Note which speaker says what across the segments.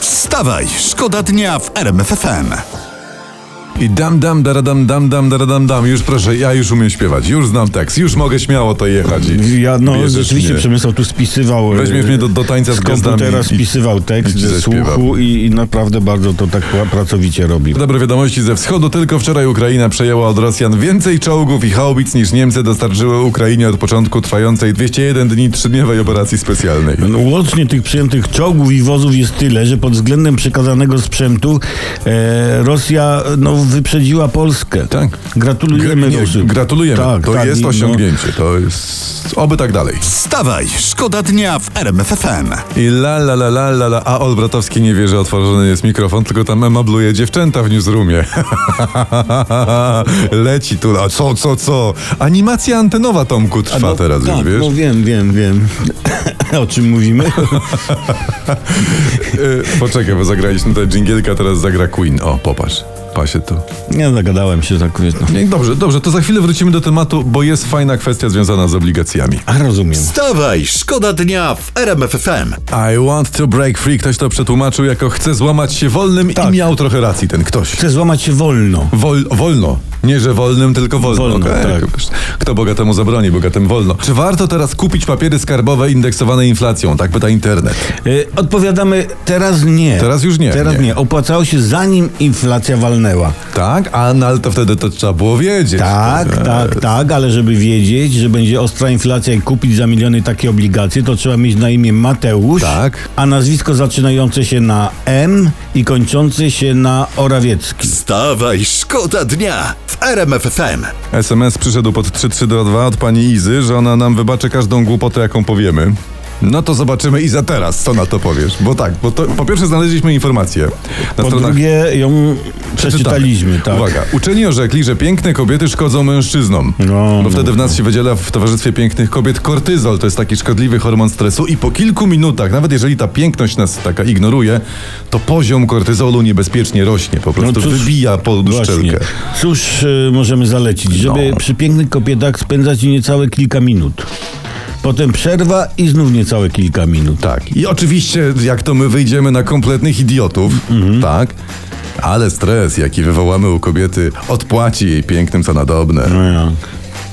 Speaker 1: Wstawaj, szkoda dnia w RMFFM.
Speaker 2: I dam, dam, daradam, dam, dam, daradam, dam. Już proszę, ja już umiem śpiewać, już znam tekst, już mogę śmiało to jechać. i
Speaker 3: Ja, no
Speaker 2: bierzesz
Speaker 3: rzeczywiście
Speaker 2: mnie.
Speaker 3: Przemysław tu spisywał. e,
Speaker 2: Weźmiesz mnie do- do tańca z
Speaker 3: z
Speaker 2: gwiazdami
Speaker 3: komputera
Speaker 2: i-
Speaker 3: spisywał tekst
Speaker 2: i ci
Speaker 3: ze
Speaker 2: zaśpiewam.
Speaker 3: słuchu i, i naprawdę bardzo to tak pra- pracowicie robi.
Speaker 2: Dobre wiadomości ze wschodu. Tylko wczoraj Ukraina przejęła od Rosjan więcej czołgów i haubic niż Niemcy dostarczyły Ukrainie od początku trwającej 201 dni trzydniowej operacji specjalnej.
Speaker 3: No, łącznie tych przyjętych czołgów i wozów jest tyle, że pod względem przekazanego sprzętu e, Rosja no, wyprzedziła Polskę.
Speaker 2: Tak.
Speaker 3: Gratulujemy
Speaker 2: Nie,
Speaker 3: Rosji.
Speaker 2: gratulujemy.
Speaker 3: Tak,
Speaker 2: to
Speaker 3: tak, i
Speaker 2: jest
Speaker 3: no,
Speaker 2: osiągnięcie. To jest... Oby tak dalej.
Speaker 1: Wstawaj, szkoda dnia w RMFFM.
Speaker 2: I la la la la la la, a Olbratowski nie wie, że otworzony jest mikrofon, tylko tam emabluje dziewczęta w newsroomie. Leci tu, a co, co, co? Animacja antenowa Tomku
Speaker 3: A
Speaker 2: trwa
Speaker 3: no,
Speaker 2: teraz
Speaker 3: tak,
Speaker 2: już, wiesz?
Speaker 3: No wiem, wiem, wiem. o czym mówimy?
Speaker 2: Y, Poczekaj, bo zagraliśmy tę dżingielkę, teraz zagra Queen. O, popatrz, pasie to.
Speaker 3: Nie zagadałem się tak, wiesz, no.
Speaker 2: Nie, Dobrze, dobrze, to za chwilę wrócimy do tematu, bo jest fajna kwestia związana z obligacjami.
Speaker 3: A rozumiem.
Speaker 1: Wstawaj, szkoda dnia w RMFFM.
Speaker 2: I want to break free, ktoś to przetłumaczył jako chce złamać się wolnym i
Speaker 3: Tak.
Speaker 2: miał trochę racji ten ktoś.
Speaker 3: Chcę złamać się wolno.
Speaker 2: Wol, wolno. Nie, że wolnym, tylko wolno.
Speaker 3: Wolno,
Speaker 2: Okej.
Speaker 3: tak.
Speaker 2: Kto bogatemu zabroni, bogatym wolno. Czy warto teraz kupić papiery skarbowe indeksowane inflacją? Tak pyta internet.
Speaker 3: Y, Odpowiadamy teraz nie.
Speaker 2: Teraz już nie,
Speaker 3: Teraz
Speaker 2: nie.
Speaker 3: nie. Opłacało się zanim inflacja walnęła.
Speaker 2: Tak? A no, ale to wtedy to trzeba było wiedzieć. E,
Speaker 3: Tak, tak, tak, ale żeby wiedzieć, że będzie ostra inflacja i kupić za miliony takie obligacje, to trzeba mieć na imię Mateusz,
Speaker 2: Tak.
Speaker 3: a nazwisko zaczynające się na M i kończące się na Orawiecki.
Speaker 1: Wstawaj, szkoda dnia w RMFFM.
Speaker 2: SMS przyszedł pod 3322 od pani Izy, że ona nam wybaczy każdą głupotę, jaką powiemy. No to zobaczymy Iza teraz, co na to powiesz. Bo tak, bo to, po pierwsze znaleźliśmy informację. Na
Speaker 3: Po drugie ją przeczytaliśmy, tak.
Speaker 2: Uwaga, uczeni orzekli, że piękne kobiety szkodzą mężczyznom.
Speaker 3: No,
Speaker 2: bo wtedy
Speaker 3: no,
Speaker 2: w nas się wydziela w towarzystwie pięknych kobiet kortyzol, to jest taki szkodliwy hormon stresu i po kilku minutach, nawet jeżeli ta piękność nas taka ignoruje, to poziom kortyzolu niebezpiecznie rośnie, po prostu
Speaker 3: No cóż,
Speaker 2: wybija poduszczelkę.
Speaker 3: Właśnie. Cóż y, możemy zalecić? Żeby
Speaker 2: No.
Speaker 3: przy pięknych kobietach spędzać niecałe kilka minut. Potem przerwa i znów niecałe kilka minut.
Speaker 2: Tak. I oczywiście, jak to my wyjdziemy na kompletnych idiotów,
Speaker 3: Mhm.
Speaker 2: tak? Ale stres, jaki wywołamy u kobiety, odpłaci jej pięknym co nadobne.
Speaker 3: No ja.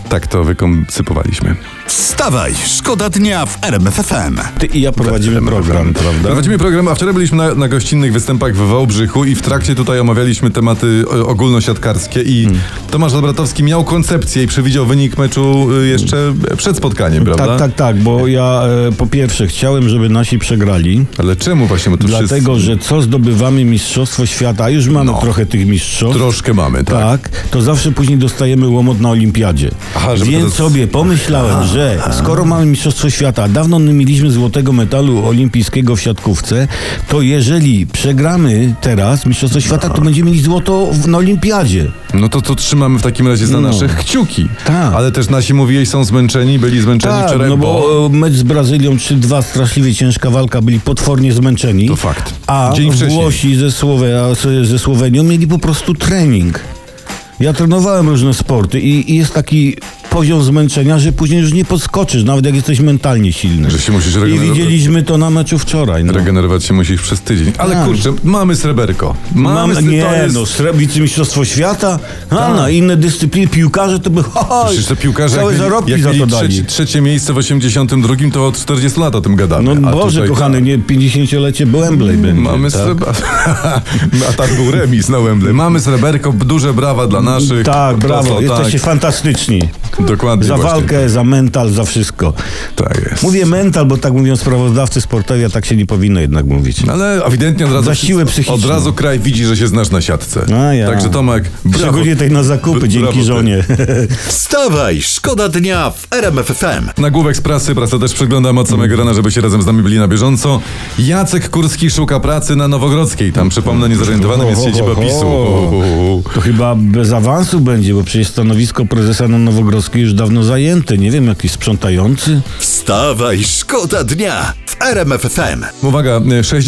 Speaker 2: Tak to wykoncypowaliśmy.
Speaker 1: Wstawaj, szkoda dnia w RMFFM.
Speaker 3: Ty i ja prowadzimy program, prawda?
Speaker 2: Prowadzimy program, a wczoraj byliśmy na, na gościnnych występach w Wałbrzychu i w trakcie tutaj omawialiśmy tematy e, ogólnosiatkarskie i
Speaker 3: Hmm.
Speaker 2: Tomasz Dobratowski miał koncepcję i przewidział wynik meczu e, jeszcze przed spotkaniem, prawda?
Speaker 3: Tak, tak, tak, bo ja e, po pierwsze chciałem, żeby nasi przegrali.
Speaker 2: Ale czemu właśnie? Bo tu
Speaker 3: Dlatego, że co zdobywamy Mistrzostwo Świata, a już mamy
Speaker 2: No.
Speaker 3: trochę tych mistrzostw,
Speaker 2: troszkę mamy, tak?
Speaker 3: tak, to zawsze później dostajemy łomot na Olimpiadzie.
Speaker 2: Aha, żeby
Speaker 3: Więc
Speaker 2: to-
Speaker 3: sobie pomyślałem, że skoro mamy Mistrzostwo Świata, a dawno nie mieliśmy złotego metalu olimpijskiego w siatkówce, to jeżeli przegramy teraz Mistrzostwo Świata, to będziemy mieli złoto w, na Olimpiadzie.
Speaker 2: No to to trzymamy w takim razie za
Speaker 3: No.
Speaker 2: naszych kciuki.
Speaker 3: Tak.
Speaker 2: Ale też nasi mówili, są zmęczeni, byli zmęczeni
Speaker 3: Tak,
Speaker 2: wczoraj,
Speaker 3: no bo e, mecz z Brazylią 3-2, straszliwie ciężka walka, byli potwornie zmęczeni.
Speaker 2: To fakt.
Speaker 3: A
Speaker 2: Dzień wcześniej.
Speaker 3: Włosi ze, Słowe, a z- ze Słowenią mieli po prostu trening. Ja trenowałem różne sporty i, i jest taki poziom zmęczenia, że później już nie podskoczysz, nawet jak jesteś mentalnie silny.
Speaker 2: Że się musisz
Speaker 3: I
Speaker 2: regenerować.
Speaker 3: widzieliśmy to na meczu wczoraj. No.
Speaker 2: Regenerować się musisz przez tydzień. Ale
Speaker 3: Tak.
Speaker 2: kurczę, mamy sreberko. Mamy,
Speaker 3: Mam,
Speaker 2: sre-
Speaker 3: nie,
Speaker 2: to jest... Tak.
Speaker 3: no, sre- wicemistrzostwo świata, a na inne dyscypliny, piłkarze to by... ho, ho,
Speaker 2: Przecież te piłkarze,
Speaker 3: całe
Speaker 2: jak mieli,
Speaker 3: zarobki
Speaker 2: jak
Speaker 3: za to
Speaker 2: mieli
Speaker 3: dali.
Speaker 2: trzecie, trzecie miejsce w 82, to od 40 lat o tym gadamy.
Speaker 3: No
Speaker 2: A
Speaker 3: Boże,
Speaker 2: tutaj- tak.
Speaker 3: kochany, nie 50-lecie Wembley będzie.
Speaker 2: Mamy
Speaker 3: tak?
Speaker 2: srebra... A tak był remis na Wembley. Mamy sreberko, duże brawa dla naszych.
Speaker 3: Tak, brawo,
Speaker 2: To,
Speaker 3: jesteście fantastyczni.
Speaker 2: Dokładnie
Speaker 3: Za
Speaker 2: właśnie.
Speaker 3: walkę, za mental, za wszystko.
Speaker 2: Tak jest.
Speaker 3: Mówię mental, bo tak mówią sprawozdawcy sportowi, a tak się nie powinno jednak mówić.
Speaker 2: Ale ewidentnie od razu,
Speaker 3: Za siłę psychiczną.
Speaker 2: od razu kraj widzi, że się znasz na siatce.
Speaker 3: A ja.
Speaker 2: Także Tomek, brawo.
Speaker 3: Szczególnie tej na zakupy,
Speaker 2: Bra- brawo
Speaker 3: dzięki
Speaker 2: ty.
Speaker 3: żonie.
Speaker 1: Wstawaj, szkoda dnia w RMFFM.
Speaker 2: Nagłówek z prasy, prasa też przeglądam od samego rana, żeby się razem z nami byli na bieżąco. Jacek Kurski szuka pracy na Nowogrodzkiej. Tam, przypomnę, niezorientowanym jest siedziba PiSu.
Speaker 3: To chyba bez awansu będzie, bo przecież stanowisko prezesa na Polski już dawno zajęte. Nie wiem, jakiś sprzątający.
Speaker 1: Wstawaj, szkoda dnia w RMFFM.
Speaker 2: Uwaga,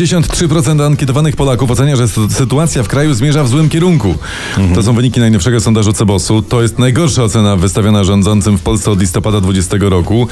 Speaker 2: 63% ankietowanych Polaków ocenia, że sy- sytuacja w kraju zmierza w złym kierunku. To są wyniki najnowszego sondażu Cebosu. To jest najgorsza ocena wystawiona rządzącym w Polsce od listopada 2020 roku.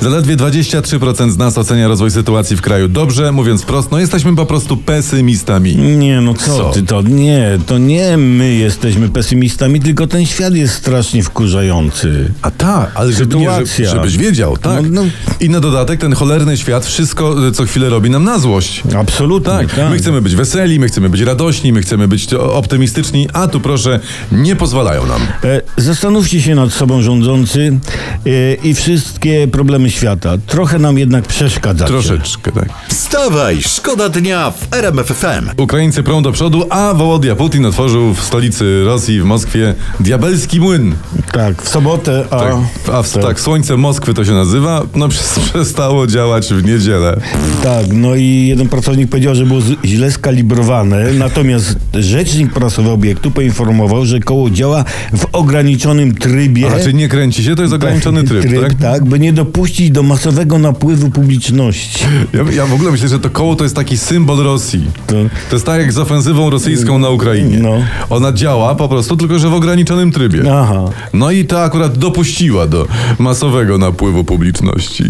Speaker 2: Zaledwie 23% z nas ocenia rozwój sytuacji w kraju dobrze, mówiąc wprost, no jesteśmy po prostu pesymistami.
Speaker 3: Nie, no co,
Speaker 2: Co?
Speaker 3: ty to? Nie, to nie my jesteśmy pesymistami, tylko ten świat jest strasznie wkurzający.
Speaker 2: A tak, ale żeby nie,
Speaker 3: Sytuacja.
Speaker 2: że- żebyś wiedział, tak.
Speaker 3: No, no.
Speaker 2: I na dodatek ten cholerny świat wszystko y, co chwilę robi nam na złość.
Speaker 3: Absolutnie.
Speaker 2: Tak, my chcemy być weseli, my chcemy być radośni, my chcemy być o- optymistyczni, a tu proszę, nie pozwalają nam.
Speaker 3: E, Zastanówcie się nad sobą rządzący e, i wszystkie problemy świata. Trochę nam jednak przeszkadzacie.
Speaker 2: Troszeczkę, tak.
Speaker 1: Wstawaj, szkoda dnia w RMFFM.
Speaker 2: Ukraińcy prą do przodu, a Wołodia Putin otworzył w stolicy Rosji, w Moskwie, diabelski młyn.
Speaker 3: Tak, w sobotę, a...
Speaker 2: Tak, a w, tak, słońce Moskwy to się nazywa, no przez- przestało działać w niedzielę.
Speaker 3: Tak, no i jeden pracownik powiedział, że było z- źle skalibrowane, natomiast rzecznik prasowy obiektu poinformował, że koło działa w ograniczonym trybie.
Speaker 2: A raczej nie kręci się, to jest ograniczony tryb,
Speaker 3: tryb
Speaker 2: tak?
Speaker 3: tak, by nie dopuścić do masowego napływu publiczności.
Speaker 2: Ja, ja w ogóle myślę, że to koło to jest taki symbol Rosji.
Speaker 3: To-
Speaker 2: To jest tak jak z ofensywą rosyjską na Ukrainie.
Speaker 3: No.
Speaker 2: Ona działa po prostu, tylko że w ograniczonym trybie.
Speaker 3: Aha.
Speaker 2: No i ta akurat dopuściła do masowego napływu publiczności.